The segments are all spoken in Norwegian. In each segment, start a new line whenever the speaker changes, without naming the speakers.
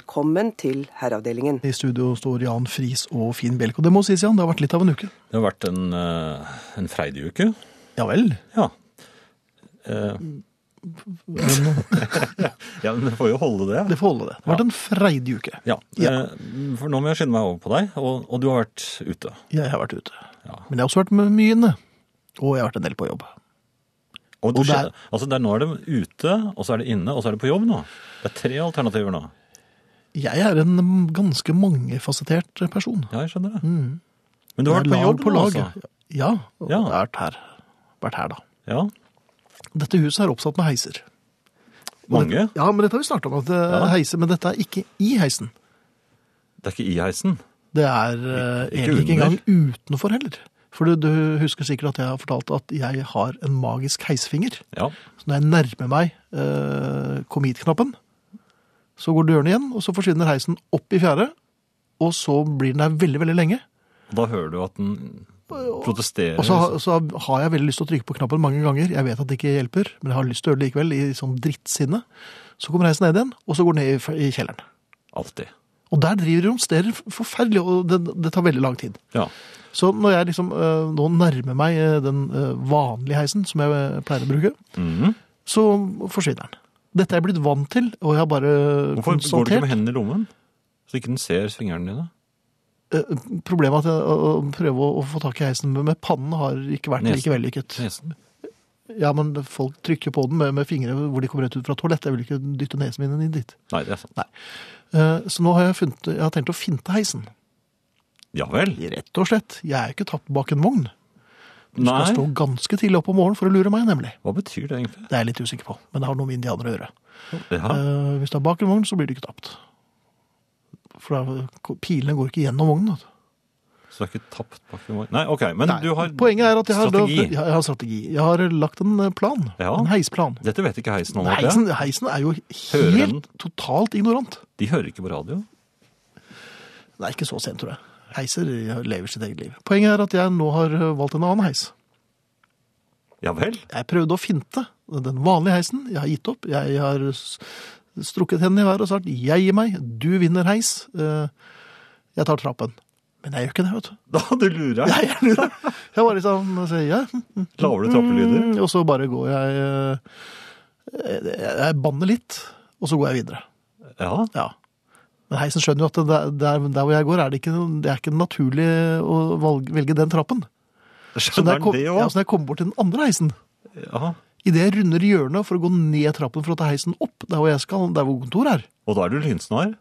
Velkommen til Herreavdelingen.
I studio står Jan Friis og Finn Bjelk. Og det må sies, Jan, det har vært litt av en uke.
Det har vært en, eh, en freidig uke.
Ja vel.
Ja. Eh, ja, men det får jo holde det.
Det får holde, det. Det har vært en freidig uke.
Ja, eh, for nå må jeg skynde meg over på deg, og, og du har vært ute.
Jeg har vært ute.
Ja.
Men jeg har også vært med mye inne. Og jeg har vært en del på jobb.
Og du,
Og der-
skjønner- altså der, nå er det ute, og så er det inne, og så er det på jobb nå. Det er tre alternativer nå.
Jeg er en ganske mangefasettert person.
Ja, jeg skjønner det. Men du har vært på
Jeg lar
jobb nå,
lag.
altså.
Ja, og
Ja.
jeg har vært her. Vært her, da.
Ja,
Dette huset er oppsatt med heiser. Og
mange.
dette- Ja, men dette har vi snart om, at det er
Ja.
heiser, men dette er ikke i heisen.
Det er ikke i heisen.
Det er eh,
Ikke
egentlig ikke
under.
engang utenfor heller. For du, du husker sikkert at jeg har fortalt at jeg har en magisk heisfinger.
Ja,
Så når jeg nærmer meg eh, kom hit-knappen, så går dørene igjen, og så forsvinner heisen opp i fjerde, og så blir den der veldig, veldig lenge.
og da hører du at den protesterer.
Og så, så har jeg veldig lyst til å trykke på knappen mange ganger. Jeg vet at det ikke hjelper, men jeg har lyst til å gjøre det likevel, i sånn drittsinne. Så kommer heisen ned igjen, og så går den ned i, f- i kjelleren.
Alltid.
Og der driver de og romsterer forferdelig, og det, det tar veldig lang tid.
Ja,
Så når jeg liksom øh, nå nærmer meg øh, den øh, vanlige heisen som jeg øh, pleier å bruke,
Mm.
så forsvinner den. Dette er jeg blitt vant til, og jeg har bare eh,
Hvorfor går du ikke
konstatert
med hendene i lommen? Så ikke den ser svingerne dine?
øh, problemet at jeg, å å prøve å, å få tak i heisen med, med pannen har ikke vært
Nesen.
like vellykket.
Nesen.
Ja, men folk trykker på den med, med fingre hvor de kommer rett ut fra toalettet. Jeg vil ikke dytte nesen min inn dit.
Nei, det er sant.
Nei. Eh, Så nå har jeg, funnet, jeg har tenkt å finte heisen.
Ja vel.
Rett og slett. Jeg er jo ikke tapt bak en vogn. Du skal
Nei.
stå ganske tidlig opp om morgenen for å lure meg, nemlig.
Hva betyr det egentlig?
Det er jeg litt usikker på, men det har noe med indianere å gjøre.
Ja,
Eh, hvis det er bak en vogn, så blir du ikke tapt. For da, pilene går ikke gjennom vognen. vet du.
så det er ikke tapt bak en vogn? Nei, ok, men
Nei,
du har
Poenget er at jeg har,
strategi.
Da, jeg har strategi. Jeg har lagt en eh, plan.
Ja.
En heisplan.
Dette vet ikke heisen om at det
Heisen,
er.
heisen er jo
Hører den?
helt totalt ignorant.
De hører ikke på radio.
Nei, ikke så sent, tror jeg. Heiser lever sitt eget liv. Poenget er at jeg nå har eh, valgt en annen heis.
Ja vel.
Jeg prøvde å finte den vanlige heisen. Jeg har gitt opp. Jeg har s- strukket hendene i været og sagt 'jeg gir meg, du vinner heis'. Eh, Jeg tar trappen. Men jeg gjør ikke det, vet du.
Da du lurer jeg.
Jeg lurer. Jeg bare liksom sier ja. mm,
Lager du trappelyder?
mm, Og så bare går jeg eh, Jeg jeg banner litt, og så går jeg videre.
Ja.
Ja. Men heisen skjønner jo at det- der, der hvor jeg går, er det ikke, noe- det er ikke naturlig å valg- velge den trappen. Så når
Skjønner
jeg, kom,
den det
ja, så
òg?
når jeg kommer bort til den andre heisen,
Ja.
idet jeg runder hjørnet for å gå ned trappen for å ta heisen opp, der hvor jeg skal, der hvor kontoret er
Og da er du lynsnar?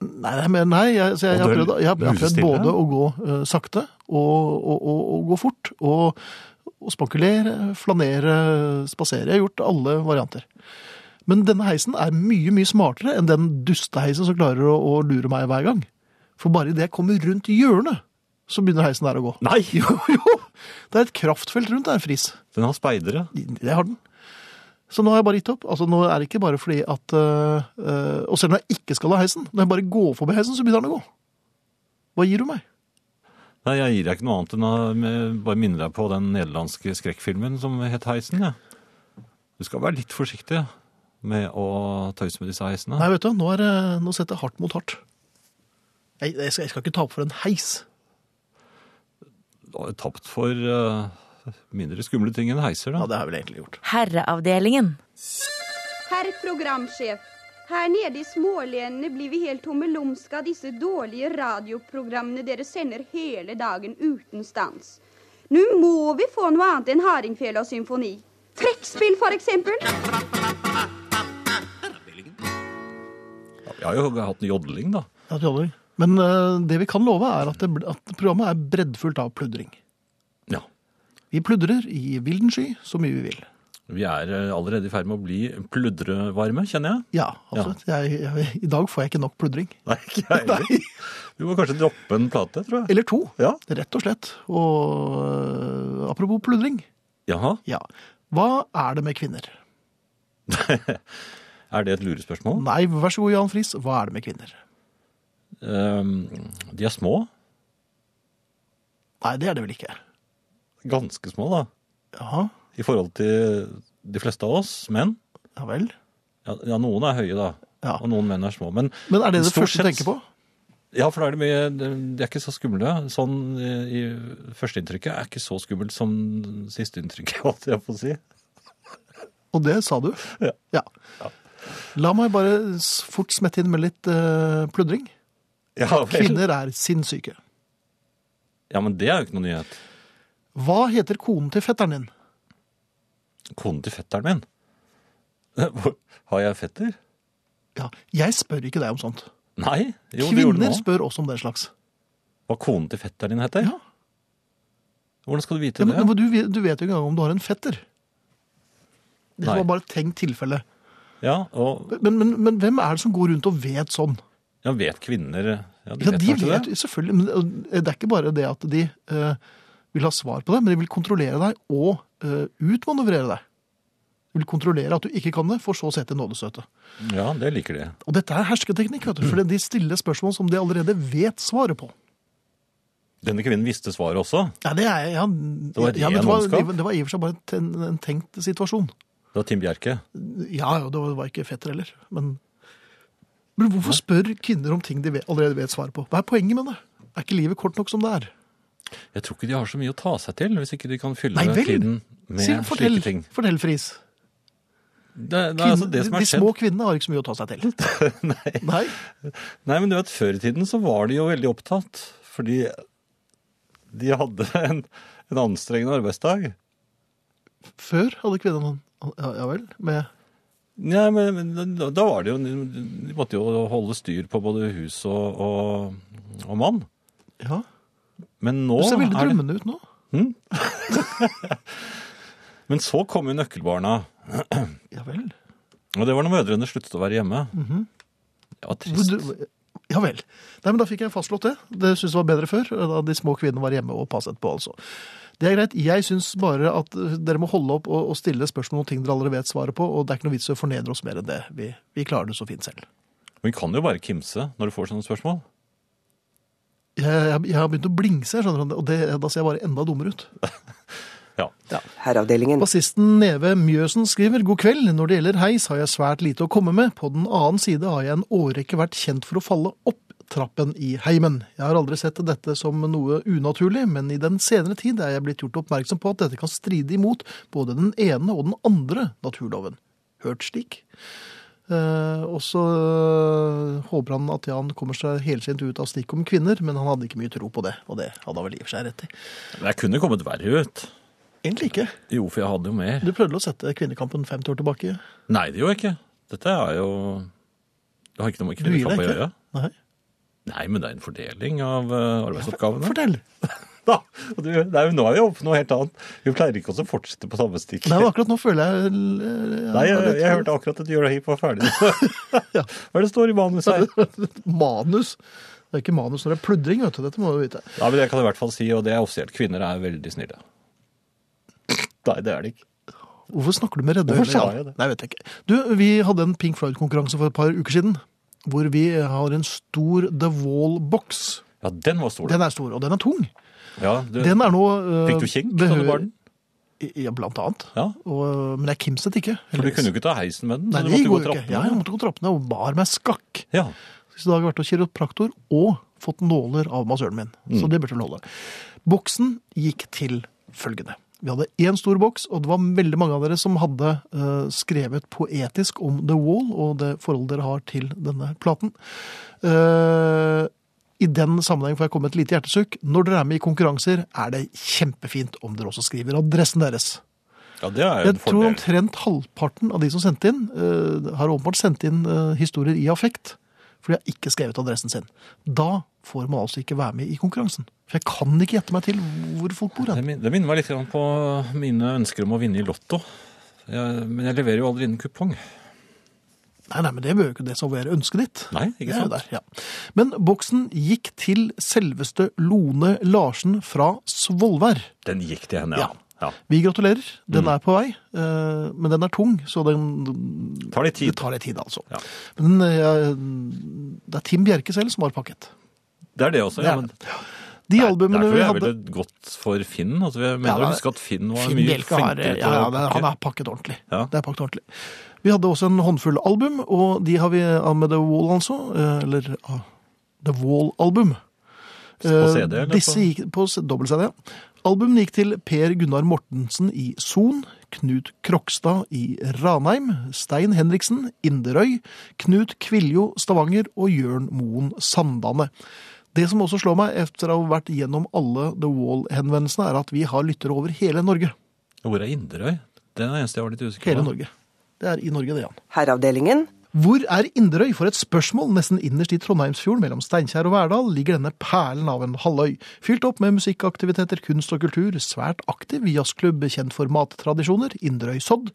Nei, nei, men nei jeg, så jeg, jeg, har
Og du er
prøvd, jeg, har- jeg har prøvd
musestille.
både å gå eh, sakte og, og, og, og gå fort. Og, og spankulere, flanere, spasere. Jeg har gjort alle varianter. Men denne heisen er mye mye smartere enn den dusteheisen som klarer å, å lure meg hver gang. For bare idet jeg kommer rundt hjørnet, så begynner heisen der å gå.
Nei!
Jo, jo! Det er et kraftfelt rundt der, Friis.
Den har speidere.
Det har den. Så nå har jeg bare gitt opp. Altså, nå er det ikke bare fordi at øh, øh, Og selv når jeg ikke skal ha heisen, når jeg bare går forbi heisen, så begynner den å gå. Hva gir du meg?
Nei, Jeg gir deg ikke noe annet enn å med- bare minne deg på den nederlandske skrekkfilmen som het Heisen. Ja. Du skal være litt forsiktig med å tøyse med disse heisene.
Nei, vet du, nå, er, det- nå setter jeg hardt mot hardt. Jeg, jeg, skal, jeg skal ikke tape for en heis.
Du har jo tapt for eh, mindre skumle ting enn heiser, da.
Ja, det har jeg vel egentlig gjort.
Herreavdelingen.
Herr programsjef, her nede i smålenene blir vi helt tommelumske av disse dårlige radioprogrammene dere sender hele dagen uten stans. Nå må vi få noe annet enn hardingfele og symfoni. Trekkspill, for eksempel.
Jeg har jo hatt en jodling, da.
Ja, det holder. Men øh, det vi kan love, er at, det, bl- at programmet er breddfullt av pludring.
Ja.
Vi pludrer i vilden sky så mye vi vil.
Vi er eh, allerede i ferd med å bli pludrevarme, kjenner jeg.
Ja, absolutt. Jeg, jeg, I dag får jeg ikke nok pludring.
Nei, ikke jeg heller. Vi må kanskje droppe en plate, tror jeg.
Eller to,
Ja.
rett og slett. Og øh, apropos pludring.
Jaha.
Ja. Hva er det med kvinner?
Er det et lurespørsmål?
Nei, vær så god, Jan Friis. Hva er det med kvinner?
Ehm, de er små.
Nei, det er det vel ikke.
Ganske små, da.
Jaha,
I forhold til de fleste av oss menn.
ja vel.
Ja, ja noen er høye, da.
Ja.
Og noen menn er små. Men,
Men er det det
stort
første du
sett-
tenker på?
Ja, for da er det mye De er ikke så skumle. Sånn eh, i Førsteinntrykket er ikke så skummelt som sisteinntrykket, holdt jeg på å si.
Og det sa du?
Ja.
La meg bare s- fort smette inn med litt eh, pludring.
Ja, vel.
Kvinner er sinnssyke.
ja, men det er jo ikke noe nyhet.
Hva heter konen til fetteren din?
Konen til fetteren min. Hvor- Har jeg fetter?
Ja, jeg spør ikke deg om sånt.
Nei. Jo, det gjorde du
Kvinner
nå.
spør også om den slags.
Hva konen til fetteren din heter?
Ja.
Hvordan skal du vite
Ja,
det?
men, men du, vet- du vet jo ikke engang om du har en fetter. Det
Nei.
var bare et tenkt tilfelle.
Ja, og
Men, men, men hvem er det som går rundt og vet sånn?
ja, vet kvinner ja, de
Ja,
vet
de
kanskje
vet
det?
selvfølgelig, men og eh, det er ikke bare det at de eh, vil ha svar på det, men de vil kontrollere deg og eh, utmanøvrere deg. De vil kontrollere at du ikke kan det, for så å sette nådestøtet.
Ja, det liker de.
Og dette er hersketeknikk, vet du, for de stiller spørsmål som de allerede vet svaret på.
Denne kvinnen visste svaret også.
Ja, det er ja,
var
ja, men
ren
det, var,
ondskap.
det var i og for seg bare en, ten- en tenkt situasjon.
Det var Tim Bjerke.
Ja, ja, det var ikke fetter heller, men Men hvorfor spør kvinner om ting de vet, allerede vet svaret på? Hva er poenget med det? Er ikke livet kort nok som det er?
Jeg tror ikke de har så mye å ta seg til, hvis ikke de kan fylle
Nei vel!
tiden med
Sier- fortell,
slike ting.
fortell, Friis.
Det, det er altså det som
de
er skjedd.
små kvinnene har ikke så mye å ta seg til.
Nei.
Nei,
Nei, men du vet, før i tiden så var de jo veldig opptatt, fordi de hadde en, en anstrengende arbeidsdag.
Før hadde kvinnene ja, ja vel. Med,
Nei, men, men da, da var det jo De måtte jo holde styr på både hus og, og, og mann.
ja.
Men nå
Du ser veldig
er det
drømmende ut nå.
Men så kom jo nøkkelbarna.
Ja vel.
Og det var når mødrene sluttet å være hjemme. Det var
Mhm.
trist.
Du- Ja vel. Nei, men Da fikk jeg fastslått det. Det syns jeg var bedre før, da de små kvinnene var hjemme og passet på. altså. Det er greit. Jeg syns bare at eh, dere må holde opp og, og stille spørsmål om ting dere allerede vet svaret på, og det er ikke noe vits i å fornedre oss mer enn det. Vi, vi klarer det så fint selv.
Vi kan jo bare kimse når du får sånne spørsmål.
Jeg, jeg, jeg har begynt å blingse, skjønner du, og det, da ser jeg bare enda dummere ut.
Ja.
Herreavdelingen.
Bassisten Neve Mjøsen skriver God kveld. Når det gjelder heis, har jeg svært lite å komme med. På den annen side har jeg en årrekke vært kjent for å falle opp trappen i heimen. Jeg har aldri sett dette som noe unaturlig, men i den senere tid er jeg blitt gjort oppmerksom på at dette kan stride imot både den ene og den andre naturloven. Hørt slik. Eh, og så eh, håper han at Jan kommer seg helsint ut av stikk om kvinner, men han hadde ikke mye tro på det, og det hadde han vel i og for seg rett i.
Jeg kunne kommet verre ut.
Egentlig ikke.
Jo, for jeg hadde jo mer.
Du prøvde å sette kvinnekampen 50 år tilbake.
Nei, det gjorde jeg ikke. Dette er jo Det har ikke noe med
Du gir deg
kvinnekamp å
ikke?
gjøre.
Nei.
Nei, men det er en fordeling av eh, arbeidsoppgavene.
Fortell.
Da, og du, nei, men nå er vi oppe på noe helt annet. Vi pleier ikke også å fortsette på samme stikk.
Nei, men akkurat nå føler jeg eh,
Nei, jeg,
har
jeg,
litt-
hørte akkurat at Jørahip var ferdig. Hva er det står i manuset her?
Manus. Det er ikke manus når det er pludring, vet du. Dette må du vite.
Ja, men Det kan jeg i hvert fall si, og det er offisielt. Kvinner er veldig snille. Nei, det er de ikke.
Hvorfor snakker du med redde
Hvorfor
øyne,
sa
Jan?
jeg det?
Nei, vet jeg ikke. Du, vi hadde en Pink Floyd-konkurranse for et par uker siden. Hvor vi har en stor The Wall-boks.
Ja, den var stor.
Den er stor, og den er tung.
ja, du,
Den er nå eh,
Fikk du kink da du
behøver-
bar den?
Ja, blant annet.
Ja,
Og, men jeg kimset ikke.
for du
heldigvis.
kunne jo ikke ta heisen med den.
Nei,
så du
det
måtte gå
går jo ikke.
trappene.
Ja, jeg måtte gå trappene og bar meg skakk.
Ja.
Så i dag har jeg vært hos kiropraktor og fått nåler av massøren min. Så det burde vel holde. Boksen gikk til følgende. Vi hadde én stor boks, og det var veldig mange av dere som hadde eh, skrevet poetisk om The Wall og det forholdet dere har til denne platen. Eh, I den sammenheng får jeg komme med et lite hjertesukk. Når dere er med i konkurranser, er det kjempefint om dere også skriver adressen deres.
ja, det er jo
Jeg
en
tror
fordel.
omtrent halvparten av de som sendte inn, eh, har åpenbart sendt inn eh, historier i affekt, for de har ikke skrevet adressen sin. Da får man altså ikke være med i konkurransen. For jeg kan ikke gjette meg til hvor folk bor
Det
hen.
min- det minner meg litt grann på mine ønsker om å vinne i Lotto. Jeg, men jeg leverer jo aldri inn kupong.
Nei, nei, men det bør jo ikke det som være ønsket ditt.
Nei,
Det
ikke
er jo
sant?
der, ja. Men boksen gikk til selveste Lone Larsen fra Svolvær.
Den gikk til henne, ja. ja.
Vi gratulerer. Den
Mm.
er på vei, eh, men den er tung, så den,
Tar litt
det
tid.
tar litt tid, altså.
Ja.
Men eh, det er Tim Bjerke selv som har pakket.
Det er det også.
Det
Ja,
er
men
De
Der-
albumene
der tror
vi
jeg
hadde
ville gått for Finn. Altså, jeg mener
Ja,
å
da-
huske at Finn var
Finn
mye
Bjelke har,
flinkere
ja,
til
ja,
å
det- han
pakke.
er pakket ordentlig.
Ja.
Det er pakket ordentlig. Vi hadde også en håndfull album, og de har vi av med The Wall, altså. eh, Eller ah, The Wall-album.
På CD, eller?
Eh, Disse
på-
gikk på s- dobbelt CD. Albumene gikk til Per Gunnar Mortensen i Son, Knut Krokstad i Ranheim, Stein Henriksen, Inderøy, Knut Kviljo Stavanger og Jørn Moen Sandane. Det som også slår meg etter å ha vært gjennom alle The Wall-henvendelsene, er at vi har lyttere over hele Norge.
Hvor er Inderøy? Det er det eneste jeg var litt usikker
Hele
på.
Norge. Det er i Norge, det, Jan.
Herreavdelingen.
Hvor er Inderøy? For et spørsmål! Nesten innerst i Trondheimsfjorden mellom Steinkjer og Verdal ligger denne perlen av en halvøy. Fylt opp med musikkaktiviteter, kunst og kultur, svært aktiv jazzklubb, kjent for mattradisjoner, Inderøy Sodd.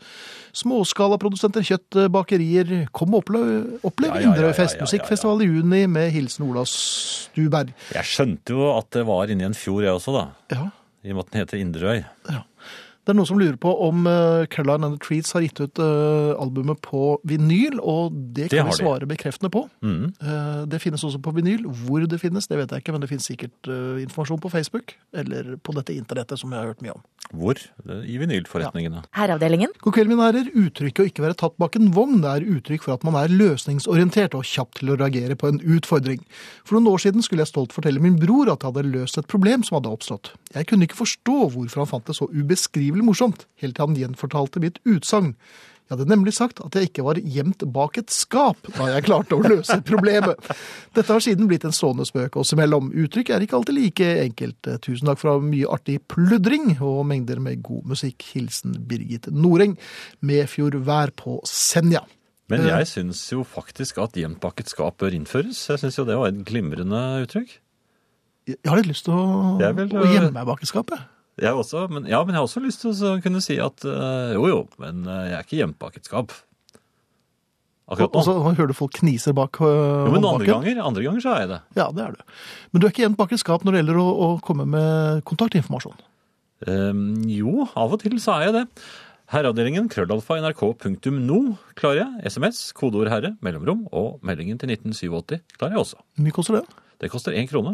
Småskalaprodusenter, kjøtt, bakerier. Kom og opple- opplev
Ja, ja, ja,
Inderøy Fest,
ja, ja, ja.
musikkfestival i juni med hilsen Ola Stuberg.
Jeg skjønte jo at det var inni en fjord, jeg også, da.
Ja,
I og med at den heter Inderøy.
Det er noen som lurer på om eh, Caroline and the Treats har gitt ut eh, albumet på vinyl, og det
Det
kan
har
vi
de.
svare bekreftende på.
Mhm.
Eh, Det finnes også på vinyl. Hvor det finnes, det vet jeg ikke, men det finnes sikkert eh, informasjon på Facebook, eller på dette internettet som jeg har hørt mye om.
Hvor? I vinylforretningene.
Herreavdelingen.
God kveld, mine herrer. Uttrykket å ikke være tatt bak en vogn er uttrykk for at man er løsningsorientert og kjapp til å reagere på en utfordring. For noen år siden skulle jeg stolt fortelle min bror at jeg hadde løst et problem som hadde oppstått. Jeg kunne ikke forstå hvorfor han fant det så ubeskrivelig morsomt, helt til han gjenfortalte mitt utsagn. Jeg hadde nemlig sagt at jeg ikke var gjemt bak et skap da jeg klarte å løse problemet. Dette har siden blitt en stående spøk oss imellom. Uttrykk er ikke alltid like enkelt. Tusen takk for mye artig pludring og mengder med god musikk. Hilsen Birgit Noreng. Medfjord vær på Senja. Eh.
Men jeg syns jo faktisk at gjemt bak et skap bør innføres. Jeg syns jo det var et glimrende uttrykk.
Jeg har litt lyst til å,
Jeg vil, øh,
å gjemme meg bak i skapet.
Jeg også, men, ja, men jeg har også lyst til å så kunne si at eh, jo jo, men eh, jeg er ikke gjemt bak et skap.
Og,
Akkurat
og så
nå.
hører du folk kniser bak øh,
Jo, men andre
håndbaken.
ganger, andre ganger så er jeg det.
Ja, det er du. Men du er ikke igjen bak i skap når det gjelder å, å komme med kontaktinformasjon.
Ehm, jo, av og til så er jeg det. Herreavdelingen krøllalfa nrk.no klarer jeg. SMS, kodeord herre, mellomrom og meldingen til 1987 klarer jeg også.
Hvor mye koster det?
Det koster én krone.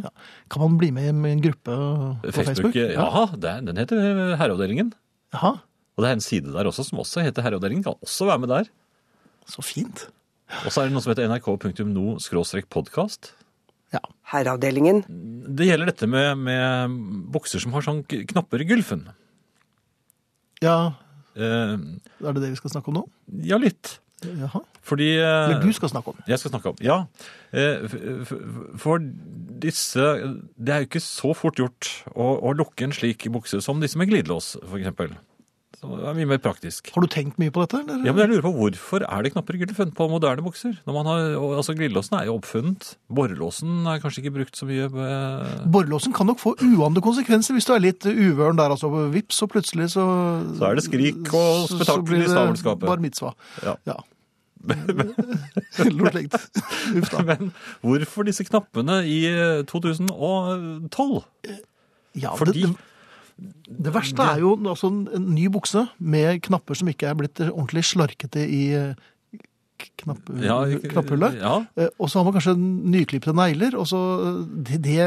Kan man bli med i en gruppe på Facebook?
Facebook, ja, det er, den heter eh, Herreavdelingen.
Jaha,
Og det er en side der også som også heter Herreavdelingen. Kan også være med der.
så fint.
Og så er det noe som heter nrk.no-podkast.
Ja.
Herreavdelingen.
Det gjelder dette med, med bukser som har sånn k- knapper i gylfen.
ja,
Eh,
er det det vi skal snakke om nå?
ja, litt.
Jaha.
Fordi
Eller
eh,
du skal snakke om det.
Jeg skal snakke om Ja. eh, f- f- For disse Det er jo ikke så fort gjort å, å lukke en slik bukse som disse med glidelås, f.eks. Så det er mye mer praktisk.
Har du tenkt mye på dette? Eller?
Ja, men jeg lurer på Hvorfor er det knapper i gylfen på moderne bukser? Når man har, og- altså Glidelåsen er jo oppfunnet. Borrelåsen er kanskje ikke brukt så mye. eh,
Borrelåsen kan nok få uante konsekvenser hvis du er litt uvøren der, altså. Vips, og plutselig så
Så er det skrik og
så- så
spetakkel
blir
i
det
snabelskapet.
Bar mitzvah.
Ja.
ja. Noe slikt. Uff da.
Men hvorfor disse knappene i eh, 2012?
Ja, det,
Fordi-
det, det verste er jo altså, en en ny bukse med knapper som ikke er blitt ordentlig slarkete i eh, k- knapp,
ikke-
knapphullet.
Ja.
Eh, Og så har man kanskje nyklippede negler, og så eh, det, det,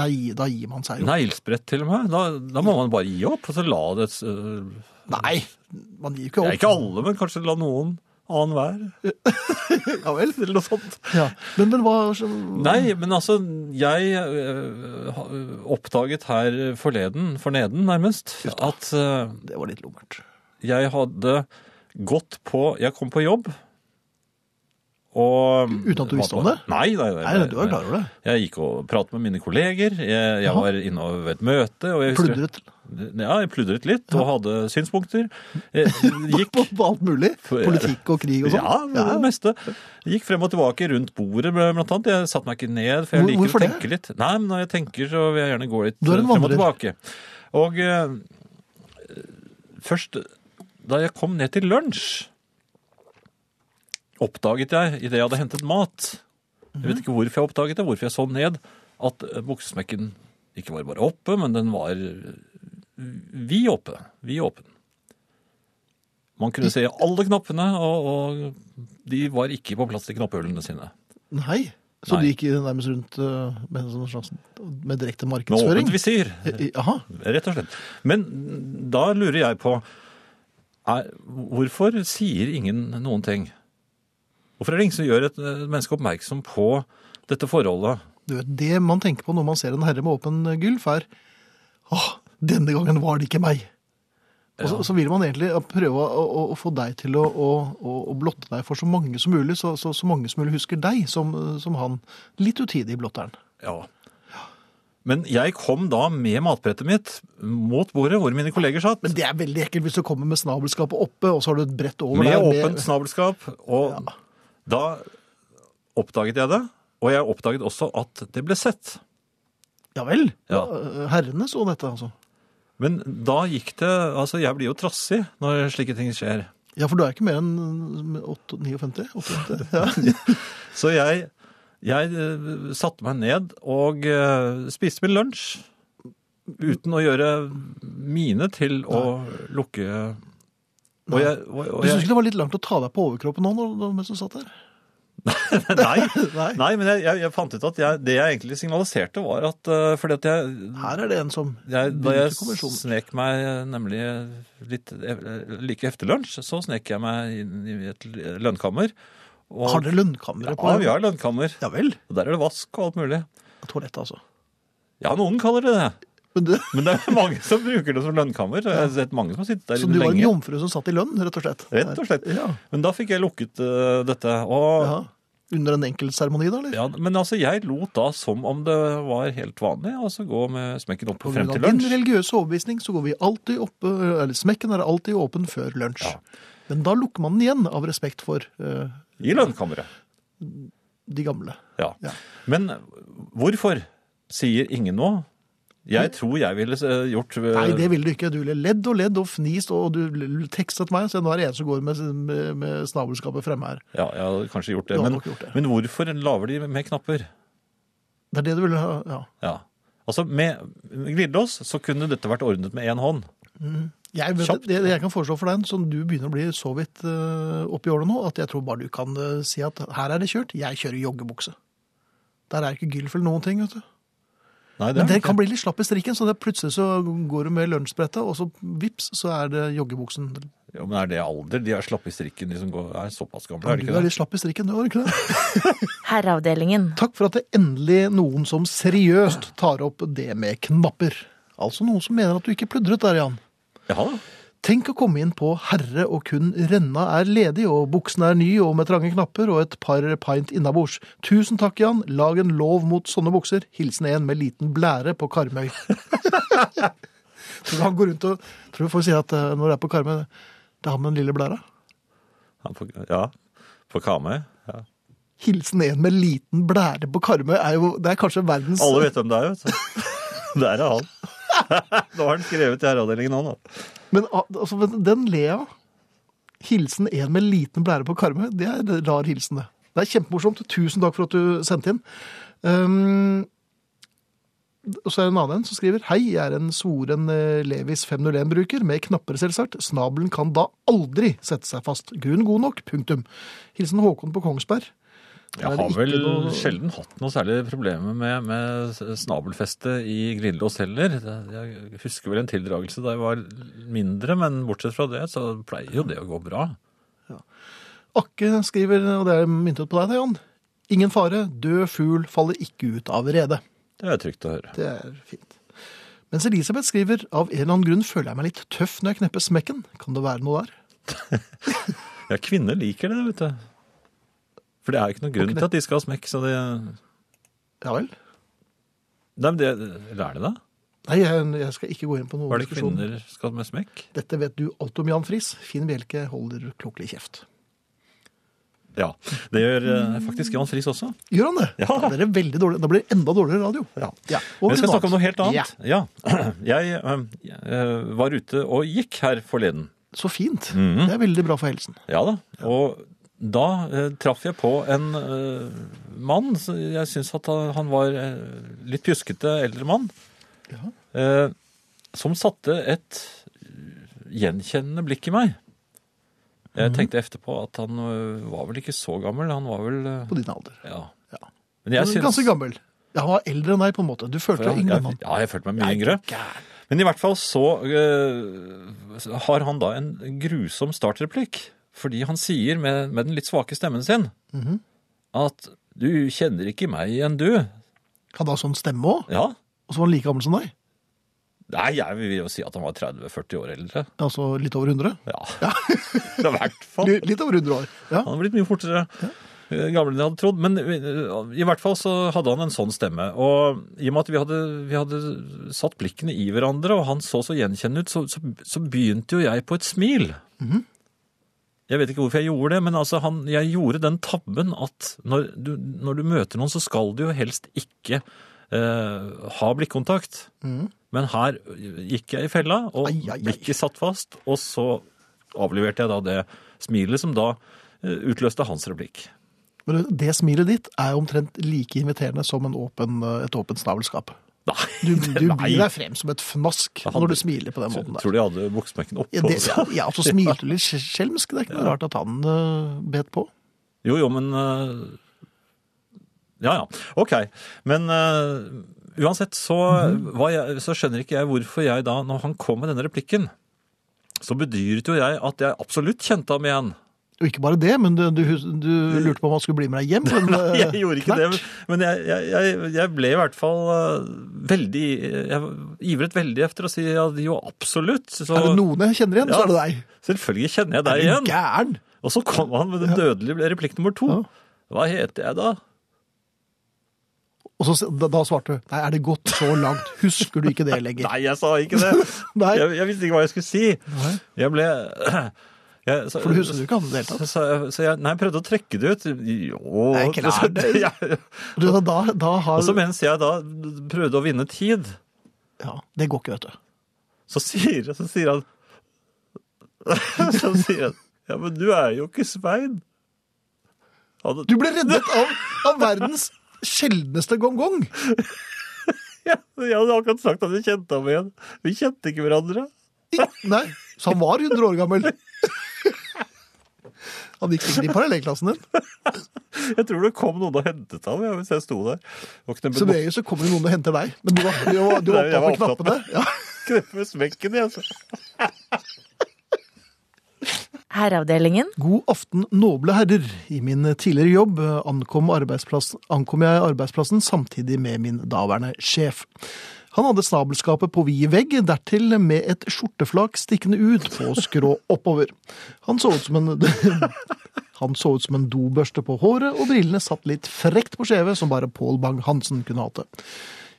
da, gi- da gir man seg jo.
Neglesprett til og med. Da, da må man bare gi opp og så la det øh,
Nei, man gir jo ikke
ja,
opp.
Ikke alle, men kanskje la noen annen hver.
Ja vel.
Eller noe sånt.
Ja. Men, men hva så-
Nei, men altså, jeg øh, ha- oppdaget her forleden, forneden nærmest, at øh,
Det var litt lummert.
jeg hadde gått på Jeg kom på jobb. Og,
Uten at du visste om det?
Nei, nei, nei,
Nei, du var klar over det.
Jeg gikk og pratet med mine kolleger. Jeg, jeg
Jaha.
var inne ved et møte. Og jeg husker-
Pludret
Ja, jeg pludret litt og hadde synspunkter. Jeg gikk
på, på alt mulig.
For-
Politikk og krig og sånn.
Ja, det meste. Gikk frem og tilbake rundt bordet, blant annet. Jeg satte meg ikke ned, for jeg
Hvor-
liker
hvorfor
å
det?
tenke litt. Nei, men når jeg tenker, så vil jeg gjerne gå litt
Du er en
eh, frem og
vandrer.
tilbake. Og eh, først da jeg kom ned til lunsj, oppdaget jeg, idet jeg hadde hentet mat Jeg
Mhm.
vet ikke hvorfor jeg oppdaget det, hvorfor jeg så ned, at eh, buksesmekken ikke var bare oppe, men den var eh, vid oppe. Vid åpen. Man kunne se alle knappene, og, og de var ikke på plass i knapphullene sine.
Nei. Så
Nei.
du gikk nærmest rundt eh, med, en sånn slags, med direkte Eh,
Med åpent
markedsføring?
visir,
Eh, eh, Jaha.
rett og slett. Men da lurer jeg på er Hvorfor sier ingen noen ting? Hvorfor er det ingen som gjør et eh, menneske oppmerksom på dette forholdet?
Du vet, det man tenker på når man ser en herre med åpen eh, gylf, er Åh, denne gangen var det ikke meg. Og så,
Ja.
så vil man egentlig prøve å, å, å få deg til å, å, å, å blotte deg for så mange som mulig, så, så, så mange som mulig husker deg som, som han litt utidige blotteren.
Ja. Men jeg kom da med matbrettet mitt mot bordet hvor mine kolleger satt.
Men det er veldig ekkelt hvis du kommer med snabelskapet oppe, og så har du et brett over
Med
der.
åpent snabelskap. Og da oppdaget jeg det. Og jeg oppdaget også at det ble sett.
Ja vel. Eh,
Ja.
Herrene så dette, altså.
Men da gikk det Altså, jeg blir jo trassig når slike ting skjer.
Ja, for du er ikke mer enn mm, åtte- 59? 88? Ja.
Så jeg, jeg eh, satte meg ned og eh, spiste min lunsj. Uten å gjøre mine til å lukke Og jeg, og,
Du
og
syns
jeg
ikke det var litt langt å ta deg på overkroppen nå når- når- mens du satt der?
Nei.
Nei.
Nei, men jeg, jeg, jeg fant ut at jeg, det jeg egentlig signaliserte, var at eh, Fordi at jeg
Her er det en som
Jeg, da
begynte
jeg
kommisjonen.
snek meg eh, nemlig litt eh, like efter lunsj, så snek jeg meg inn i et l- lønnkammer. Og,
Har dere lønnkamre på?
Ja, vi har lønnkammer.
Ja vel.
Og der er det vask og alt mulig.
Toalett, altså.
Ja, noen kaller det det.
Men du,
Men det er mange som bruker det som lønnkammer. Jeg har sett mange som har sittet der
så du var en
lenge.
jomfru som satt i lønn, rett og slett?
Rett og slett.
Ja.
Men da fikk jeg lukket eh, dette. Og,
ja. Under en enkel seremoni, da? eller?
ja, men altså, jeg lot da som om det var helt vanlig, og så gå med smekken opp
På
og
grunn
frem
av
til
din
lunsj.
religiøse overbevisning så går vi alltid oppe, eller smekken er alltid åpen før lunsj.
Ja.
Men da lukker man den igjen av respekt for eh,
I lønnkammeret.
de gamle.
Ja.
Ja.
Men hvorfor sier ingen noe? Jeg tror jeg ville eh, gjort eh,
Hm? Nei, det ville du ikke. Du ville ledd og ledd og fnist, og du tekstet meg og sa nå er det en som går med, med, med snabelskapet fremme her.
Ja, jeg hadde kanskje gjort det.
Du hadde
Men,
nok gjort det.
men hvorfor lager de med knapper?
Det er det du ville ha, ja.
Ja. Altså, Med glidelås så kunne dette vært ordnet med én hånd.
Jeg, vet,
Kjapt.
det, det jeg kan foreslå for deg, som du begynner å bli så vidt eh, oppi året nå, at jeg tror bare du kan eh, si at her er det kjørt, jeg kjører joggebukse. Der er ikke gylf eller noen ting, vet du.
Nei, det
Men
er
den
ikke.
kan bli litt slapp i strikken, så det plutselig så går du med lunsjbrettet, og så vips, så er det joggebuksen.
Jo, men Er det alder? De er slappe i strikken, de som går, er såpass gamle. er
Du
det
er
ikke det?
litt slapp i strikken, du er ikke det?
Herreavdelingen.
Takk for at det endelig er noen som seriøst tar opp det med knapper. Altså noen som mener at du ikke pludret der, Jan.
Ja, da.
Tenk å komme inn på herre og kun renna er ledig, og buksen er ny og med trange knapper og et par pint innabords. Tusen takk, Jan. Lag en lov mot sånne bukser. Hilsen en med liten blære på Karmøy. tror du han går rundt og tror du folk sier at eh, når det er på Karmøy, det er han med den lille blæra?
Han får, ja. På Kamøy. Ja.
Hilsen en med liten blære på Karmøy er jo Det er kanskje verdens
Alle vet hvem det er, vet du. Der er han. Nå har han skrevet i herreavdelingen, han. da.
Men al- altså, men den ler jeg av. Hilsen en med liten blære på Karmøy, det er en rar hilsen, det. Det er kjempemorsomt. Tusen takk for at du sendte inn. Um, og så er det en annen en som skriver Hei, jeg er en svoren eh, Levis 501-bruker, med knapper selvsagt. Snabelen kan da aldri sette seg fast. Grunn god nok, punktum. Hilsen Håkon på Kongsberg. Der er
Jeg
det
har
ikke
vel
noe-
sjelden hatt noe særlig problemer med, med snabelfeste i glidelås heller. Jeg husker vel en tildragelse da jeg var mindre, men bortsett fra det så pleier jo det å gå bra.
Akke skriver, og det er myntet på deg, det, Jan. Ingen fare, død fugl faller ikke ut av redet.
Det er trygt å høre.
Det er fint. Mens Elisabeth skriver av en eller annen grunn føler jeg meg litt tøff når jeg knepper smekken. Kan det være noe der?
Ja, kvinner liker det, vet du. For det er jo ikke noen grunn til at de skal ha smekk, så det
Ja vel?
Nei, men det Eller er det det?
Nei, jeg, jeg skal ikke gå inn på noen
Var det kvinner skal med smekk?
Dette vet du alt om, Jan Friis. Finn Bjelke holder klokelig kjeft.
Ja. Det gjør eh, faktisk Jan Friis også.
Gjør han det?
Ja.
Da, blir det veldig dårlig. da blir det enda dårligere radio.
Ja.
over
Men jeg skal
til
snakke om noe helt
Ja.
annet. Ja. Jeg eh, var ute og gikk her forleden.
Så fint.
Mhm.
Det er veldig bra for helsen.
Ja da. Og da eh, traff jeg på en eh, mann. så Jeg syns at han- han var eh, litt pjuskete eldre mann. Eh, som satte et gjenkjennende blikk i meg. Jeg
Mhm.
tenkte etterpå at han eh, var vel ikke så gammel. Han var vel eh,
På din alder.
Ja.
Ja.
Men jeg
Ganske
syns,
gammel. Ja, han var eldre enn deg, på en måte. Du følte deg
jeg,
yngre enn
jeg,
han.
ja, jeg følte meg mye yngre. Men i hvert fall så eh, har han da en grusom startreplikk. Fordi han sier med, med den litt svake stemmen sin at du kjenner ikke meg igjen, du.
Hadde han sånn stemme òg?
Ja.
Og så var han like gammel som deg?
Nei, jeg vil jo si at han var 30-40 år eldre.
Altså litt over 100?
Ja. I hvert fall.
Li- Litt over 100 år. Ja.
Han har blitt mye fortere eh, gammel enn jeg hadde trodd. Men eh, i hvert fall så hadde han en sånn stemme. Og i og med at vi hadde, vi hadde satt blikkene i hverandre, og han så så gjenkjennende ut, så, så, så begynte jo jeg på et smil. Jeg vet ikke hvorfor jeg gjorde det, men altså han, jeg gjorde den tabben at når du, når du møter noen, så skal du jo helst ikke eh, ha blikkontakt. Men her gikk jeg i fella, og
Mm. Ai, ai, ai.
blikket satt fast, og så avleverte jeg da det smilet som da eh, utløste hans replikk.
Men du, det smilet ditt er omtrent like inviterende som en åpen, eh, et åpent snabelskap.
Nei,
Du,
det-
du
nei.
byr deg frem som et fnask
Han-
når du smiler på den måten der.
Tror du jeg hadde buksmekken oppå?
Ja, det,
også?
ja, ja, altså smilte litt skjelmsk. Det er ikke noe rart at han eh, bet på.
Jo, jo, men eh, Ja, ja. OK. Men eh, uansett så,
Mhm.
var jeg, så skjønner ikke jeg hvorfor jeg da, når han kom med denne replikken, så bedyret jo jeg at jeg absolutt kjente ham igjen.
Og ikke bare det, men du, du, du lurte på om han skulle bli med deg hjem. Men,
Nei, jeg
eh,
gjorde ikke
knert.
det, men jeg, jeg, jeg- jeg ble i hvert fall eh, veldig Jeg ivret veldig efter å si ja, jo, absolutt. Så
Er det noen jeg kjenner igjen,
Ja.
så er det deg.
selvfølgelig kjenner jeg
Er
deg
du
igjen.
Gæren!
Og så kom han med den dødelige replikk nummer to. Hva heter jeg da?
Og så, da, da svarte du nei, er det gått så langt? Husker du ikke det lenger?
Nei, jeg sa ikke det.
Nei.
Jeg, jeg visste ikke hva jeg skulle si.
Nei.
Jeg ble jeg, så,
For du husker jo ikke han i det hele tatt.
Så, så, så jeg, nei, jeg prøvde å trekke det ut. Jo
Nei, klart det.
Jeg-
Du, da, da, da
Og
har,
så mens jeg da prøvde å vinne tid,
ja, det går ikke, vet du.
så sier, så sier han Så sier han Ja, men du er jo ikke Svein. Han,
Du ble reddet av, av verdens sjeldneste gongong.
ja, jeg hadde akkurat sagt at jeg kjente ham igjen. Vi kjente ikke hverandre.
I- Nei, så han var 100 år gammel. Han gikk sikkert i parallellklassen din.
Jeg tror det kom noen og hentet ham ja, hvis jeg sto der. Og knebbe
Som regel så kommer det noen og henter deg. Men du var, du var, du
Nei,
var
jeg
opptatt med
var opptatt
knappene. Ja.
kneppe smekken i. Altså.
Herreavdelingen.
God aften, noble herrer. I min tidligere jobb eh, ankom, arbeidsplass- ankom jeg arbeidsplassen samtidig med min daværende sjef. Han hadde snabelskapet på vid vegg, dertil med et skjorteflak stikkende ut på skrå oppover. Han så ut som en Han så ut som en dobørste på håret, og brillene satt litt frekt på skjevet, som bare Pål Bang-Hansen kunne hatt det.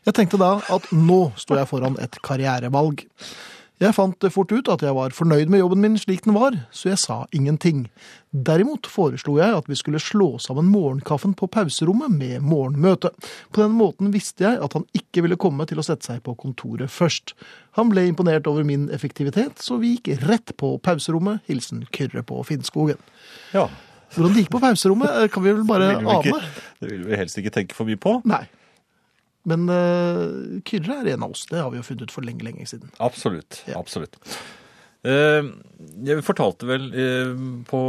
Jeg tenkte da at nå sto jeg foran et karrierevalg. Jeg fant fort ut at jeg var fornøyd med jobben min slik den var, så jeg sa ingenting. Derimot foreslo jeg at vi skulle slå sammen morgenkaffen på pauserommet med morgenmøte. På den måten visste jeg at han ikke ville komme til å sette seg på kontoret først. Han ble imponert over min effektivitet, så vi gikk rett på pauserommet. Hilsen Kyrre på Finnskogen.
Ja.
Hvordan det gikk på pauserommet, eh, kan vi vel bare
Det vil vi
ane.
ikke- Det vil vi helst ikke tenke for mye på.
Nei. Men eh, Kyrre er en av oss. Det har vi jo funnet ut for lenge, lenge siden.
Absolutt.
Ja.
absolutt. Eh, Jeg fortalte vel eh, på,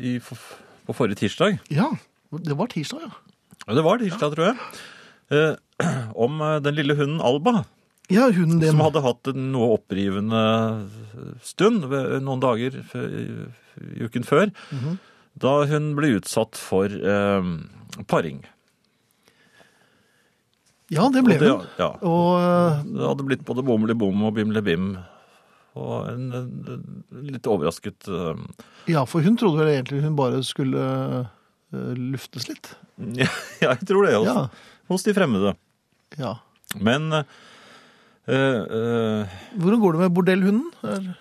i, på forrige tirsdag
Ja, det var tirsdag, ja.
Ja, det var tirsdag, tror jeg. Eh, om eh, den lille hunden Alba,
Ja, hunden din.
som hadde hatt en noe opprivende stund ved- noen dager f- i i uken før,
Mhm.
da hun ble utsatt for eh, paring.
Ja, det ble
Og det-
hun.
Ja,
Og eh,
det hadde blitt både bomle-bom og bimle-bim. Og en, en, en litt overrasket eh,
ja, for hun trodde vel egentlig hun bare skulle eh, luftes litt.
Ja, jeg tror det, hos,
Ja.
hos de fremmede.
Ja.
Men eh, eh,
Hvordan går det med bordellhunden? Er-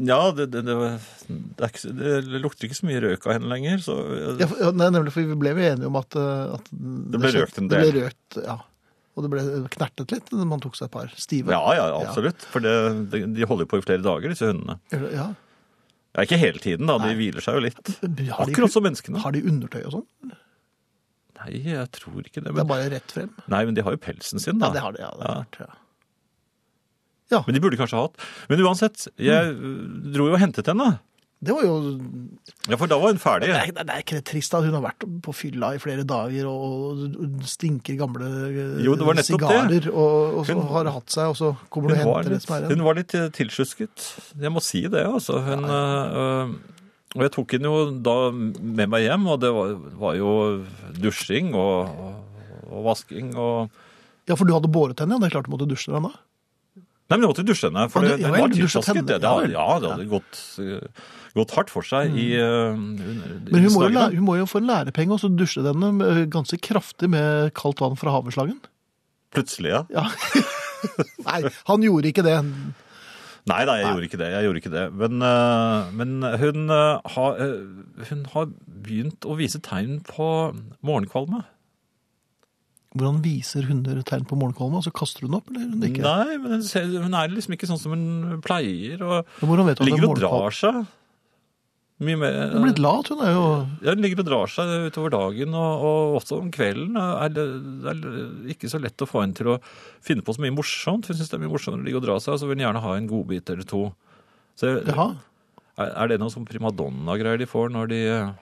Ja, det, det, det, det, er ikke, så- det lukter ikke så mye røyk av henne lenger, så
Ja, for- ja, nei, nemlig, for vi ble jo enige om at, eh, at Det
ble
skjedde-
røkt en
Det
del.
ble røkt, ja. Og det ble eh, knertet litt. Man tok seg et par stive.
Ja, ja, absolutt. For det, det, de holder jo på i flere dager, disse hundene.
ja.
Ja, ikke hele tiden, da. De hviler seg jo litt.
Har de-
Akkurat som menneskene.
Har de undertøy og sånn?
Nei, jeg tror ikke det.
Det er
Men,
bare rett frem?
nei, men de har jo pelsen sin,
Ja,
da.
det har de. Ja, det
Ja.
har vært, ja.
Men de burde kanskje ha hatt. Men uansett, jeg øh, dro jo og hentet henne.
Det var jo
Ja, for da var hun ferdig.
det er, det er ikke det trist at hun har vært på fylla i flere dager og stinker gamle eh,
Jo, det var nettopp
sigarer
det.
Og, og så
Hun-
har det hatt seg, og så kommer du
Hun
og henter
var,
det
litt,
som er
hun var litt eh, tilsjusket. Jeg må si det, altså. Hun, eh, eh, og jeg tok henne jo da med meg hjem, og det var, var jo dusjing og, og- og vasking og
Ja, for du hadde båret henne, ja. Det er klart du måtte dusje den da.
Nei, men jeg måtte dusje henne, for
Ja, du-
det, det
ja vel,
var
du dusjet
tilfasket.
henne,
Det,
ja
det, hadde-
vel.
ja, det hadde gått, eh, gått hardt for seg i eh, under-
Men
disse
hun må, jo,
dagene.
læ- hun må jo få en lærepenge og så dusje denne med- ganske kraftig med kaldt vann fra havreslagen.
Plutselig, ja.
Ja. Nei, han gjorde ikke det.
Nei, nei, jeg gjorde ikke det. jeg gjorde ikke det. Men, eh, men hun, eh, har, eh, hun har begynt å vise tegn på morgenkvalme.
Hvordan viser hunder tegn på morgenkvalme? Altså kaster hun opp, eller hun ikke?
Nei, men hun, ser, hun er liksom ikke sånn som hun pleier. og
Men Hvordan vet hun at det er
Ligger og
morgenkvalme?
drar seg. Mye mer
Hun er blitt lat, hun er jo
Ja, Hun ligger og drar seg utover dagen, og, og også om kvelden. Er det det er ikke så lett å få henne til å finne på så mye morsomt. Hun syns det er mye morsommere å ligge og dra seg, og så vil hun gjerne ha en godbit eller to. Så
Jaha.
er, er det noe sånn primadonna-greier de får når de eh,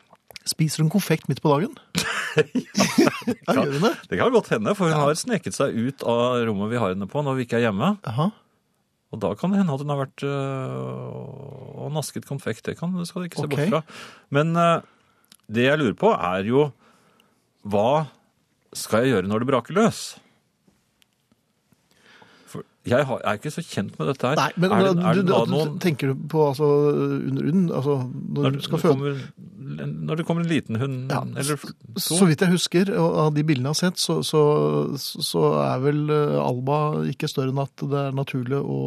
Spiser hun konfekt midt på dagen? ja, gjør hun det?
Det kan godt hende, for hun har sneket seg ut av rommet vi har henne på når vi ikke er hjemme.
Jaha.
Og da kan det hende at hun har vært øh, og nasket konfekt. Det kan, det skal du ikke se
Ok.
bort fra. Men øh, det jeg lurer på, er jo hva skal jeg gjøre når det braker løs? For jeg har, er ikke så kjent med dette her.
Nei, men
er det,
da-
er
du,
det
du,
da
at du
noen
tenker du på altså, under hund, altså når du skal
det
føde
kommer, når det kommer en liten hund
Ja,
eller to?
Så vidt jeg husker, og av de bildene jeg har sett, så, så, så er vel eh, Alba ikke større enn at det er naturlig å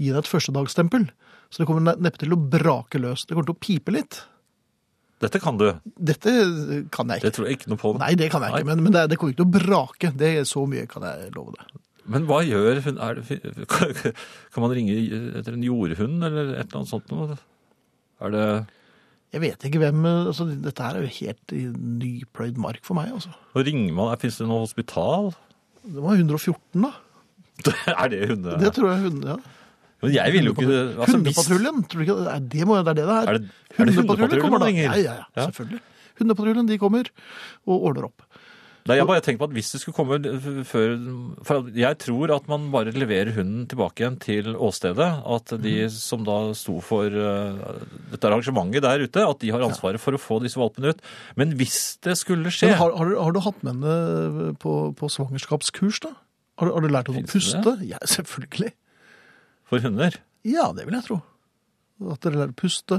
gi deg et førstedagsstempel. Så det kommer ne- neppe til å brake løs. Det kommer til å pipe litt.
Dette kan du.
Dette kan jeg
Det
ikke.
tror jeg ikke noe på.
Nei, det kan jeg ikke, men, men det, det kommer ikke til å brake. Det er Så mye kan jeg love deg.
Men hva gjør hun? Er det, kan man ringe etter en jordhund eller et eller annet sånt? noe? Er det...
Jeg vet ikke hvem eh, altså, Dette her er jo helt i nypløyd mark for meg, altså.
Og ringer man, finnes det noe hospital?
Det var 114, da.
er det hunde?
Det tror jeg hun, ja.
Men jeg vil jo ikke altså, hvis-
Hundepatruljen, tror du ikke? Nei, det må jo det er det det er.
Er det- er det hundepatruljen
kommer da.
man ringer?
Ja, ja, ja,
Ja.
selvfølgelig. Hundepatruljen, de kommer og ordner opp.
Nei, jeg bare tenker på at hvis det skulle komme f- før For jeg tror at man bare leverer hunden tilbake igjen til åstedet. At de
Mhm.
som da sto for eh, dette arrangementet der ute, at de har ansvaret for å få disse valpene ut. Men hvis det skulle
Men
skje
har, har, du- har du hatt med henne eh, på, på svangerskapskurs, da? Har, du- har du lært henne å
Finnes det
puste? Ja, selvfølgelig.
for hunder
Ja, det vil jeg tro. At dere lærer å puste.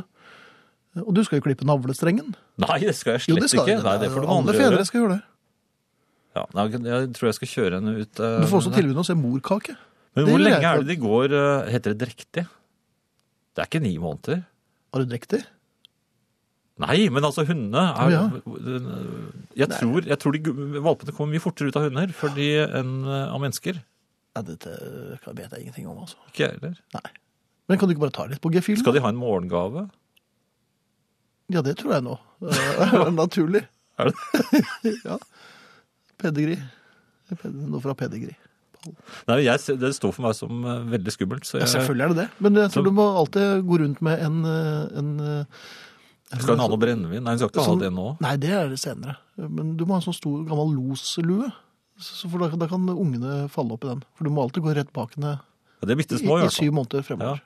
Og du skal jo klippe navlestrengen.
Nei, det skal jeg slett ikke. Nei, det får noen
Alle
andre
fedre
gjøre.
skal gjøre det.
Ja, nei, jeg tror jeg skal kjøre henne ut. eh,
Du får også tilbud om å se morkake.
Men
det
hvor
vil jeg
lenge er
tro.
det de går eh, Heter det drektig? Det er ikke ni måneder.
Har du drekt det?
Nei, men altså hundene er
Ja.
jeg, tror, jeg tror de gu- valpene kommer mye fortere ut av hunder fordi enn eh, av mennesker.
Ja, dette vet jeg ingenting om, altså.
Ikke jeg heller.
Men kan du ikke bare ta litt på gefühlen?
Skal de ha en morgengave?
Ja, det tror jeg nå. Det er naturlig.
Er det?
ja. Pedigree. Ped- Noe fra pedigree.
Nei, jeg, ser- det står for meg som eh, veldig skummelt. Så
Ja,
jeg,
selvfølgelig er det det. Men jeg tror
Så-
du må alltid gå rundt med en, eh, en eh,
skal hun ha noe brennevin? Nei, hun skal ikke
sånn-
ha det nå.
Nei, det er det senere. Men du må ha en sånn stor, gammel loslue. Så- For da, da kan ungene falle opp i den. For du må alltid gå rett bak henne
Ja, de er bitte
i,
små, i
i
hvert fall.
syv måneder fremover.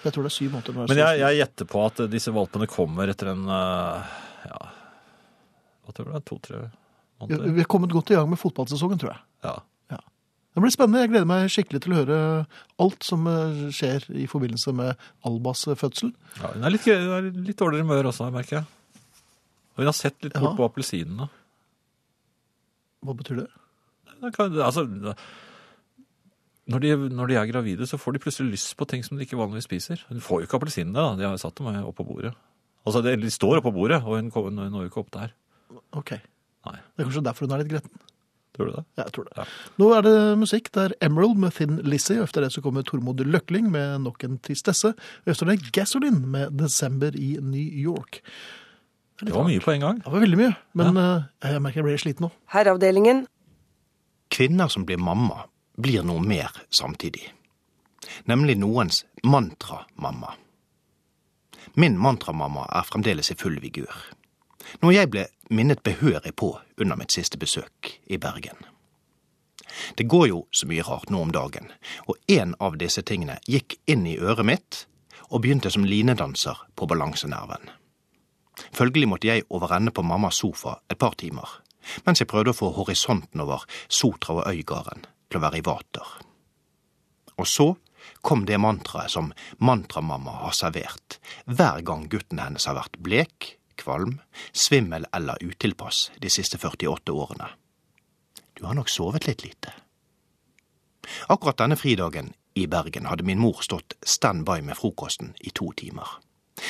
Jeg tror det er syv måneder. når det er
Men jeg,
syv-
jeg gjetter på at eh, disse valpene kommer etter en eh, ja, hva tror du det er, to-tre måneder?
Vi har kommet godt i gang med fotballsesongen, tror jeg.
Ja.
Det blir spennende. Jeg gleder meg skikkelig til å høre alt som eh, skjer i forbindelse med Albas eh, fødsel.
ja hun er litt, hun er litt dårligere humør også, merker jeg. Og hun har sett litt bort
Ja.
på appelsinene.
Hva betyr det?
Da kan, altså, når, de, når de er gravide, så får de plutselig lyst på ting som de ikke vanligvis spiser. Hun får jo ikke appelsinene, da. De har jo satt dem opp på bordet. Altså, de, de står oppå bordet, og hun, kom, hun når jo ikke opp der.
Ok.
Nei.
Det er kanskje derfor hun er litt gretten.
Tror du det?
Ja, jeg tror det.
Ja.
Nå er det musikk. Det er Emerald med Thin Lizzie. og Efter det så kommer Tormod Løkling med nok en tristesse. Og Efter det Gasoline med December i New York. er litt
Det var
rart.
mye på en gang.
Det var veldig mye, men eh, jeg merker jeg blir sliten nå.
Herreavdelingen.
Kvinner som blir mamma, blir noe mer samtidig. Nemlig noens mantra-mamma. Min mantramamma er fremdeles i full vigur. Noe jeg ble minnet behørig på under mitt siste besøk i Bergen. Det går jo så mye rart nå om dagen, og en av disse tingene gikk inn i øret mitt og begynte som linedanser på balansenerven. Følgelig måtte jeg overende på mammas sofa et par timer, mens jeg prøvde å få horisonten over Sotra og Øygarden til å være i vater. Og så kom det mantraet som mantramamma har servert hver gang gutten hennes har vært blek, kvalm, svimmel eller utilpass de siste 48 årene. Du har nok sovet litt lite. Akkurat denne fridagen i Bergen hadde min mor stått standby med frokosten i to timer.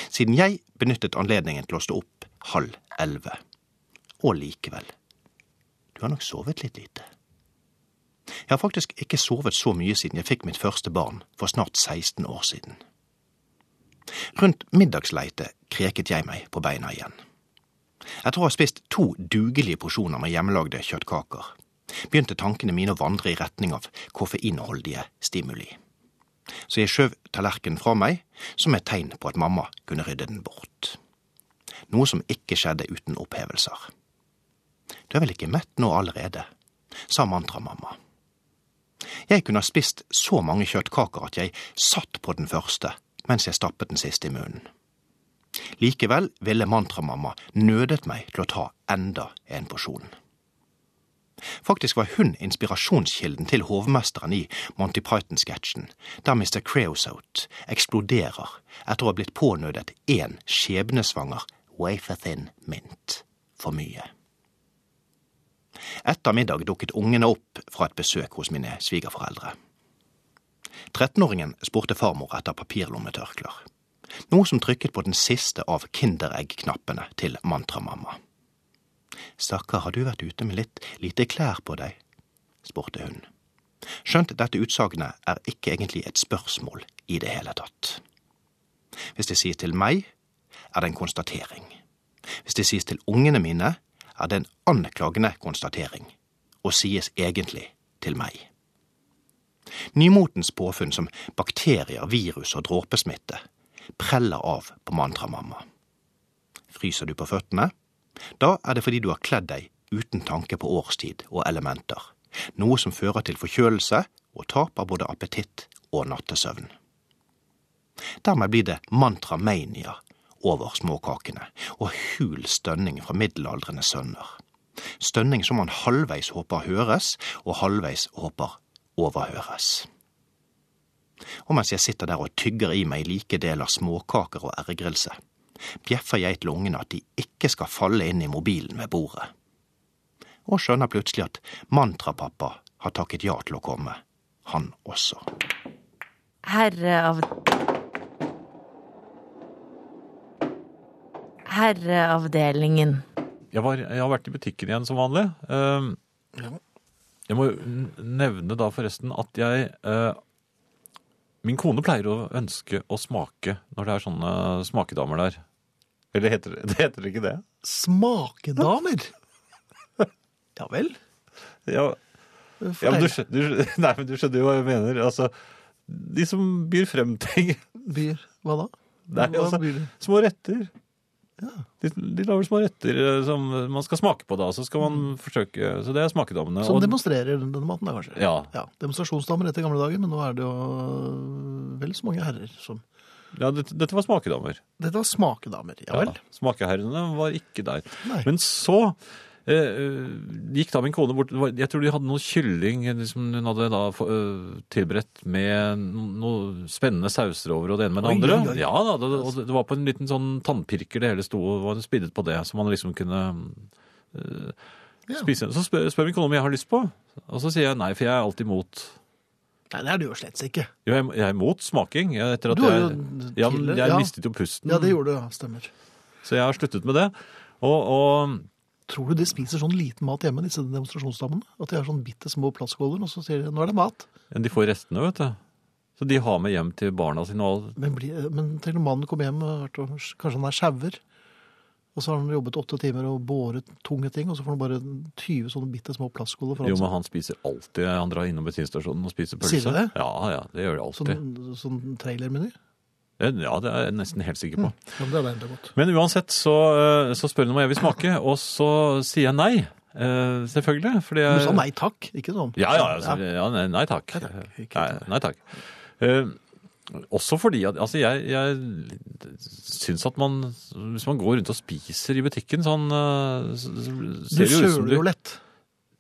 Siden jeg benyttet anledningen til å stå opp halv elleve. Og likevel. Du har nok sovet litt lite. Jeg har faktisk ikke sovet så mye siden jeg fikk mitt første barn for snart 16 år siden. Rundt middagsleite kreket jeg meg på beina igjen. Jeg tror jeg har spist to dugelige porsjoner med hjemmelagde kjøttkaker. Begynte tankene mine å vandre i retning av koffeinholdige stimuli. Så jeg skjøv tallerkenen fra meg som et tegn på at mamma kunne rydde den bort. Noe som ikke skjedde uten opphevelser. Du er vel ikke mett nå allerede, sa mantramamma. Jeg kunne ha spist så mange kjøttkaker at jeg satt på den første mens jeg stappet den siste i munnen. Likevel ville mantramamma nødet meg til å ta enda en porsjon. Faktisk var hun inspirasjonskilden til hovmesteren i Monty Python-sketsjen, der Mr. Creosote eksploderer etter å ha blitt pånødet én skjebnesvanger wafer-thin mint for mye. Etter middag dukket ungene opp fra et besøk hos mine svigerforeldre. 13-åringen spurte farmor etter papirlommetørklær. Noe som trykket på den siste av Kinderegg-knappene til mantramamma. Stakkar, har du vært ute med litt lite klær på deg? spurte hun. Skjønt dette utsagnet er ikke egentlig et spørsmål i det hele tatt. Hvis det sies til meg, er det en konstatering. Hvis det sies til ungene mine, er det en anklagende konstatering, og sies egentlig til meg. Nymotens påfunn som bakterier, virus og dråpesmitte preller av på mantramamma. Fryser du på føttene? Da er det fordi du har kledd deg uten tanke på årstid og elementer, noe som fører til forkjølelse og tap av både appetitt og nattesøvn. Dermed blir det mantramania over småkakene og hul stønning fra middelaldrende sønner. Stønning som man halvveis håper høres, og halvveis håper overhøres. Og mens jeg sitter der og tygger i meg like deler småkaker og ergrelse, bjeffer jeg til ungene at de ikke skal falle inn i mobilen ved bordet. Og skjønner plutselig at mantrapappa har takket ja til å komme, han også.
Herre av Herreavdelingen.
Jeg, var, jeg har vært i butikken igjen som vanlig. Ehm, Jeg må jo n- nevne da forresten at jeg eh, Min kone pleier å ønske å smake når det er sånne smakedamer der. Eller heter det, det heter ikke det?
Smakedamer! Ja vel?
Ja, ja, men du, skjø- du, skjø- nei, men du skjønner jo hva jeg mener. Altså, de som byr frem ting.
Byr Hva da?
Nei,
Hva
altså,
byr de?
små retter. De, de lager små retter eh, som man skal smake på, da. Så skal man forsøke Så det er smakedammene.
Som
og-
demonstrerer den- denne maten, da, kanskje?
Ja.
ja. Demonstrasjonsdamer etter gamle dager, men nå er det jo vel så mange herrer som
ja, dette, dette var smakedammer.
Dette var smakedamer, ja
Ja,
vel?
Smakeherrene var ikke der.
Nei.
Men så eh, eh, gikk da min kone bort det var- Jeg tror de hadde noe kylling eh, som hun hadde da få- eh, tilberedt med no- noe spennende sauser over og det ene med det
Oi,
andre.
oi, oi.
Ja da, det, og det- det var på en liten sånn tannpirker det hele sto og var spiddet på det, så man liksom kunne eh,
Ja.
spise. Så spør, spør min kone om jeg har lyst på, og så sier jeg nei, for jeg er alltid imot.
Nei, det er det jo slett ikke.
Jo, jeg, jeg er imot smaking. Jeg, etter at
Du har
jeg,
jo
ja, men
tidligere-
jeg
ja.
mistet jo pusten,
Ja, det gjorde du, ja. Stemmer.
så jeg har sluttet med det. Og, og
Tror du de spiser sånn liten mat hjemme, disse demonstrasjonsdamene? At de har sånn bitte små plastskåler, og så sier de 'nå er det mat'.
Men de får restene, vet du. Så de har med hjem til barna sine og alt.
Men, bli, men til når mannen kommer hjem, og har vært og- kanskje han er sjauer. Og så har han jobbet åtte timer og båret tunge ting, og så får han bare 20 sånne bitte små plastskåler
Jo,
foran
men
seg.
han spiser alltid. Han drar innom bensinstasjonen og spiser pølse.
Sier du det?
Ja, ja, det gjør de alltid. Eh,
Sånn, sånn trailermeny.
Ja, det er jeg nesten helt sikker på.
Ja, men det er det enda godt.
Men uansett så, eh, så spør hun om jeg vil smake, og så sier jeg nei. eh, Selvfølgelig.
Du
Fordi jeg...
sa nei takk, ikke sånn.
Eh, Ja, ja, altså, ja nei, nei takk.
Nei takk, ikke
Nei,
takk.
nei takk. Eh, også fordi at altså, jeg, jeg syns at man Hvis man går rundt og spiser i butikken sånn eh, så- så
Du
ser det ut som
søler jo lett.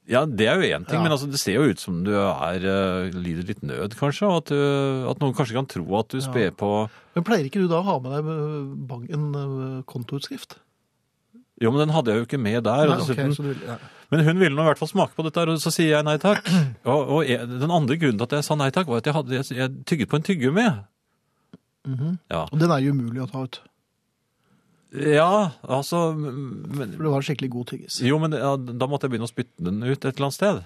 Ja, det er jo én ting,
Ja.
men altså, det ser jo ut som du er, eh, lider litt nød, kanskje. Og at, du, at noen kanskje kan tro at du sper på
Men pleier ikke du da å ha med deg øh, bang, en øh, kontoutskrift?
Jo, men den hadde jeg jo ikke med der.
Nei,
og
ok,
dessuten,
så du vil- ja.
Men hun ville nå i hvert fall smake på dette, her, og så sier jeg nei takk. Og, og jeg, den andre grunnen til at jeg sa nei takk, var at jeg, hadde, jeg, jeg tygget på en tyggegummi.
Mm-hmm.
ja.
Og den er jo umulig å ta ut,
ja, altså men,
for det var en skikkelig god tyggis.
Jo, men ja, da måtte jeg begynne å spytte den ut et eller annet sted.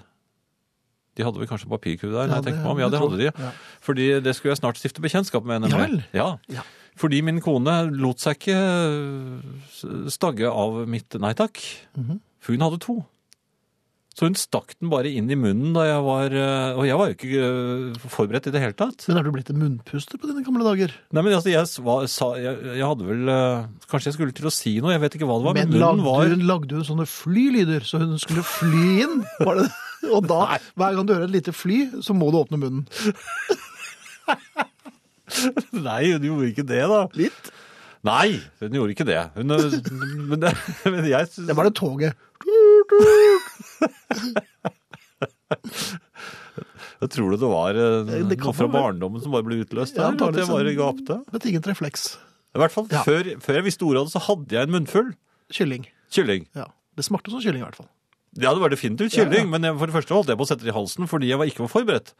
De hadde vel kanskje papirkrue der? når jeg tenker meg om. Ja, det hadde de.
Ja.
Fordi det skulle jeg snart stifte bekjentskap med.
Ja
nemlig.
vel.
Ja.
Ja.
Fordi min kone lot seg ikke øh, stagge av mitt nei takk.
Mhm.
For hun hadde to. Så hun stakk den bare inn i munnen da jeg var øh, Og jeg var jo ikke øh, forberedt i det hele tatt.
Men er du blitt en munnpuster på dine gamle dager?
Nei, men altså, jeg, var, sa, jeg, jeg hadde vel øh, Kanskje jeg skulle til å si noe, jeg vet ikke hva det var. Men,
Men
munnen var
lagde hun, lagde hun sånne flylyder, så hun skulle fly inn? Var det? Og da, hver gang du hører et lite fly, så må du åpne munnen.
Nei, hun gjorde ikke det, da.
Litt.
Nei, hun gjorde ikke det. Hun, øh, men, det men jeg syns
Det var det toget.
Jeg tror du det var eh,
Det- det kan
noe fra
være.
barndommen som bare ble
Ja,
utløst der? at jeg
antageligvis
bare
en-
gapte?
Et eget refleks.
I hvert fall
Ja.
før, før jeg visste ordet av det, så hadde jeg en munnfull
Kylling.
kylling.
Ja. Det smakte som kylling, i hvert fall.
Ja, det var definitivt
Ja, ja.
kylling, men jeg, for det første holdt jeg på å sette det i halsen fordi jeg var ikke var forberedt.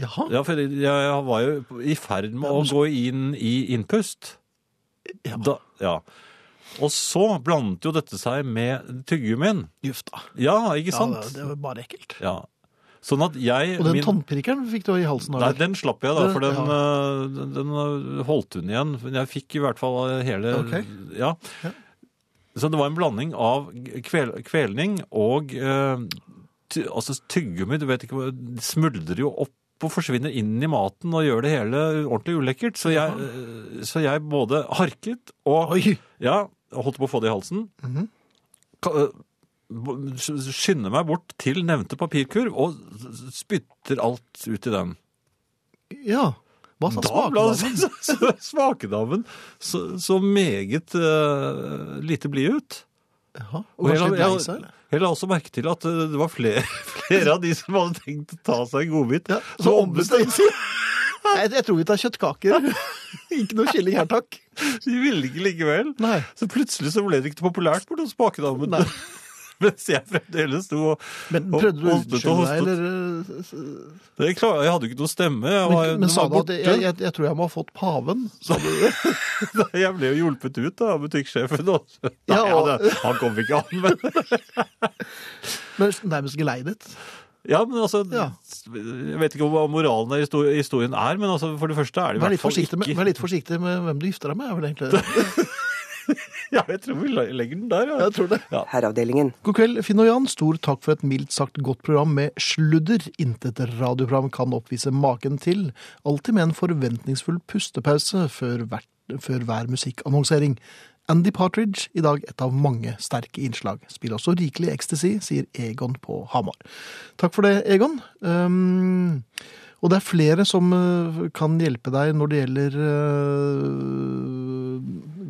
Jaha.
Ja, for jeg, jeg var jo i ferd med å gå inn i innpust.
Ja.
Da, ja. Og så blandet jo dette seg med tyggegummien.
Juff, da.
Ja, ikke
Ja,
sant?
det, det var bare ekkelt.
Ja. Sånn at jeg
Og den
min-
tannpirkeren fikk du i halsen?
Nei,
eller?
den slapp jeg da, for den,
Ja.
øh, den, den holdt hun igjen. Men Jeg fikk i hvert fall eh, hele
Ok.
ja.
Ja.
Så det var en blanding av kvel, kvelning og øh, ty, altså tyggegummi. Du vet ikke, hva- det smuldrer jo opp og forsvinner inn i maten og gjør det hele ordentlig ulekkert. Så jeg, øh, så jeg både harket og
Oi! Mhm.
ja, holdt på å få det i halsen. Ka- øh, b- Skynder meg bort til nevnte papirkurv og s- s- spytter alt ut i den.
Ja. Hva sa
Da ble
smaken?
det sånn. så- smakedammen så, så meget eh, lite blid ut.
Jaha.
Og
Og kanskje litt
jeg,
lei seg?
jeg,
eller?
jeg la også merke til at eh, det var flere, flere av de som hadde tenkt å ta seg en godbit.
Ja,
som
så ombestemte seg. Jeg, jeg tror vi tar kjøttkaker. ikke noe kylling her, takk.
De ville ikke likevel.
Nei.
Så plutselig så ble det ikke populært bort hos bakedammen.
Nei.
Mens jeg fremdeles sto og
Men
og
prøvde du å
hostet
unnskylde deg,
og hostet.
eller eh, s-
Jeg, klar, jeg hadde jo ikke noe stemme. Jeg, var,
Men, men
den
sa
var
du at
borte.
jeg, jeg, jeg tror jeg må ha fått paven?
Jeg ble jo hjulpet ut da, av butikksjefen også. Nei,
Ja, og-
han, han kom ikke an, men
Men nærmest geleidet.
Ja, men altså,
Ja.
jeg vet ikke hva moralen i histor- historien er, men altså, for det første er det i
Vær
hvert
litt,
fall
forsiktig
ikke...
med, vær litt forsiktig med hvem du gifter deg med. er vel egentlig.
Ja, jeg tror vi la- legger den der, ja.
Jeg tror det.
Herreavdelingen.
God kveld, Finn og Jan. Stor takk for et mildt sagt godt program med sludder. Intet radioprogram kan oppvise maken til. Alltid med en forventningsfull pustepause før, hvert, før hver musikkannonsering. Andy Partridge, i dag et av mange sterke innslag. Spiller også rikelig ecstasy, sier Egon på Hamar. Takk for det, Egon. Um, og det er flere som øh, kan hjelpe deg når det gjelder øh,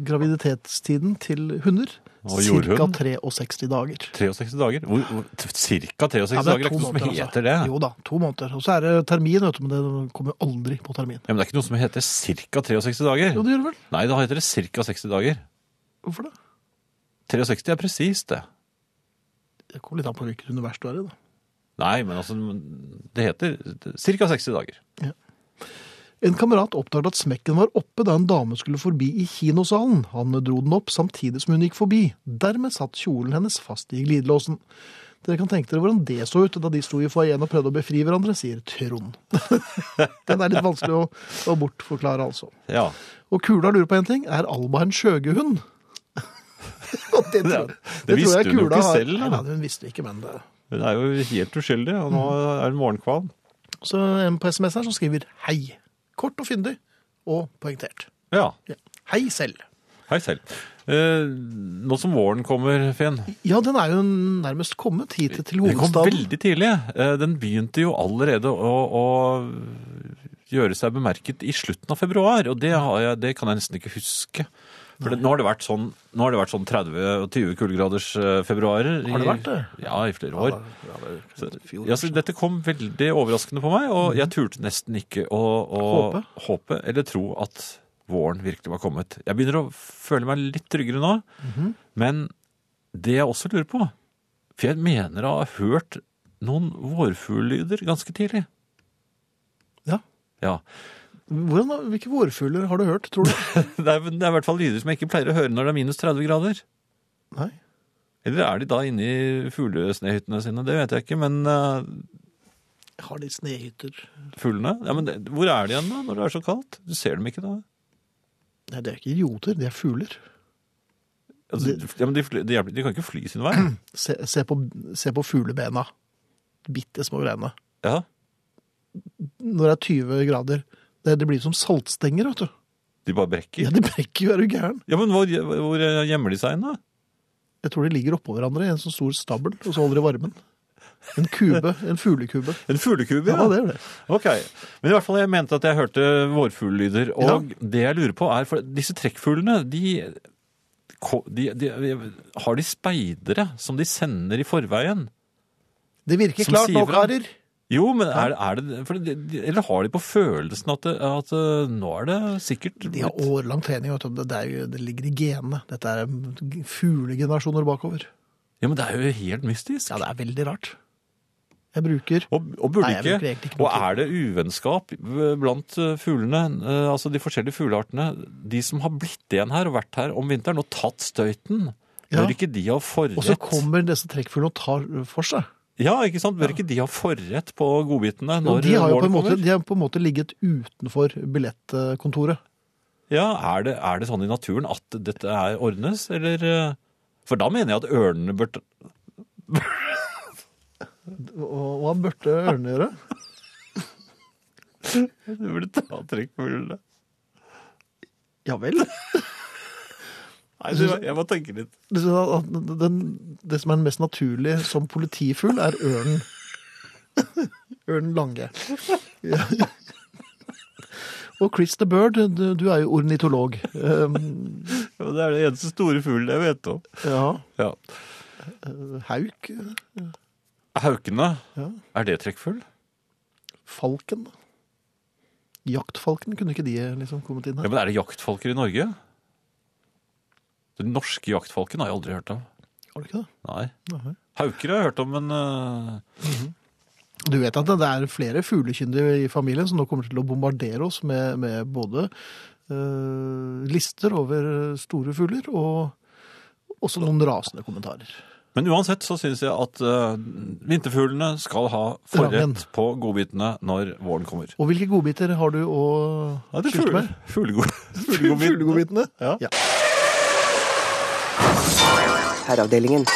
graviditetstiden til hunder.
Og
Cirka
jordhund.
63 dager.
63 dager? Hvor, hvor, cirka 63
Ja, det er
dager,
to
det er ikke noe som
måneder, altså.
heter det.
Jo da, to måneder. Og så er det termin, vet du, men det kommer jo aldri på termin.
Ja, men det er ikke noe som heter cirka 63 dager.
Jo, det gjør det vel.
Nei, da heter det cirka 60 dager.
Hvorfor det?
63 er presist det.
Det kommer litt an på hvilket univers du er i, da.
Nei, men altså, det heter cirka 60 dager.
En kamerat oppdaget at smekken var oppe da en dame skulle forbi i kinosalen. Han dro den opp samtidig som hun gikk forbi. Dermed satt kjolen hennes fast i glidelåsen. Dere kan tenke dere hvordan det så ut da de sto i foajeen og prøvde å befri hverandre, sier Trond. den er litt vanskelig å, å bortforklare, altså.
Ja,
Og Kula lurer på en ting. Er Alba en skjøgehund? Og det, tror,
Det- det visste hun jo ikke selv, da.
da. Nei, hun visste ikke, men eh, det...
hun er jo helt uskyldig, og nå er det morgenkvalm.
Så en på sms her som skriver hei. Kort og fyndig, og poengtert.
Ja.
Hei selv.
Hei selv. Eh, nå som våren kommer, Finn
Ja, den er jo nærmest kommet hit til
Den kom
hovedstaden.
veldig tidlig. Eh, Den begynte jo allerede å, å gjøre seg bemerket i slutten av februar, og det, har jeg, det kan jeg nesten ikke huske. For det, nå, har det vært sånn, nå har det vært sånn 30-20 kuldegraders eh, februarer. i-
Har det vært det?
Ja, i flere år.
Ja, det er
Så,
fjor, Mhm.
ja, så dette kom veldig overraskende på meg, og jeg turte nesten ikke å, å
Håpe?
håpe eller tro at våren virkelig var kommet. Jeg begynner å føle meg litt tryggere nå,
Mhm.
men det jeg også lurer på For jeg mener å ha hørt noen vårfugllyder ganske tidlig.
Ja.
Ja.
Hvordan, hvilke vårfugler har du hørt, tror du?
Det er, det er i hvert fall lyder som jeg ikke pleier å høre når det er minus 30 grader.
Nei.
Eller er de da inne i fuglesnehyttene sine? Det vet jeg ikke, men eh,
Har de snehytter?
fuglene ja, men det, Hvor er de igjen da, når det er så kaldt? Du ser dem ikke da?
Nei, det er ikke idioter, de er fugler.
Altså, ja, men de, fly- de, hjelper- de kan ikke fly sin vei.
Se, se, på, se på fuglebena. Bitte små greiene.
Ja.
Når det er 20 grader. Det, det blir som saltstenger, vet du.
De bare brekker.
Ja, de brekker jo, er du gæren?
Ja, men hvor, hvor eh, gjemmer de seg inn, da?
Jeg tror de ligger oppå hverandre i en sånn stor stabel, og så holder de varmen. En kube, en fuglekube.
En fuglekube,
Ja, det gjør det.
Ok. Men i hvert fall, jeg mente at jeg hørte vårfuglelyder. Og det jeg lurer på er, for disse trekkfuglene, de, ko- de, de Har de speidere som de sender i forveien?
Det virker
Som
klart
sier
nå,
fra.
karer.
Jo, men er, er det for de, de, Eller har de på følelsen at, det, at eh, nå er det sikkert
De har
blitt-
årlang trening, vet du. Det, er jo, det ligger i genene. Dette er g- fuglegenerasjoner bakover.
Ja, men det er jo helt mystisk.
Ja, det er veldig rart. Jeg bruker
Og, og burde
Nei, jeg bruker
ikke,
egentlig ikke
og
noe tid.
er det uvennskap blant eh, fuglene, eh, altså de forskjellige fugleartene, de som har blitt igjen her og vært her om vinteren og tatt støyten,
Ja.
bør ikke de ha forrett?
Og så kommer disse trekkfuglene og tar for seg.
Ja, ikke sant? Bør ikke de ha forrett på godbitene
Og
når
de har jo på
våren
en, måte,
kommer?
de har på en måte ligget utenfor billettkontoret.
Ja, er det, er det sånn i naturen at dette er ordnes, eller... eh, For da mener jeg at ørnene bør... ta-
Og hva burde ørene gjøre?
De burde ta trekkfuglene.
Ja vel.
Nei, du, jeg må tenke litt.
Det, den, det som er den mest naturlige som politifugl, er ørnen. Ørnen Lange. Ja. Og Chris the Bird, du, du er jo ornitolog. Um,
Ja, men Det er det eneste store fuglen jeg vet om.
ja,
Ja.
hauk,
Haukene,
Ja.
er det trekkfugl?
falken. Jaktfalken, kunne ikke de liksom kommet inn
Ja,
her?
men Er det jaktfalker i Norge? Den norske jaktfalken har jeg aldri hørt om.
Har du ikke det?
Nei.
Nei.
Hauker har jeg hørt om, men eh,
Du vet at det er flere fuglekyndige i familien som nå kommer til å bombardere oss med, med både eh, lister over store fugler og også noen rasende kommentarer.
Men uansett så syns jeg at eh, vinterfuglene skal ha
Rangen.
forrett på godbitene når våren kommer.
Og hvilke godbiter har du å
Ja, det er
skyte
fugle,
med?
fuglegod, fuglegodbitene.
Fuglegodbitene?
Ja.
Ja.
Herreavdelingen.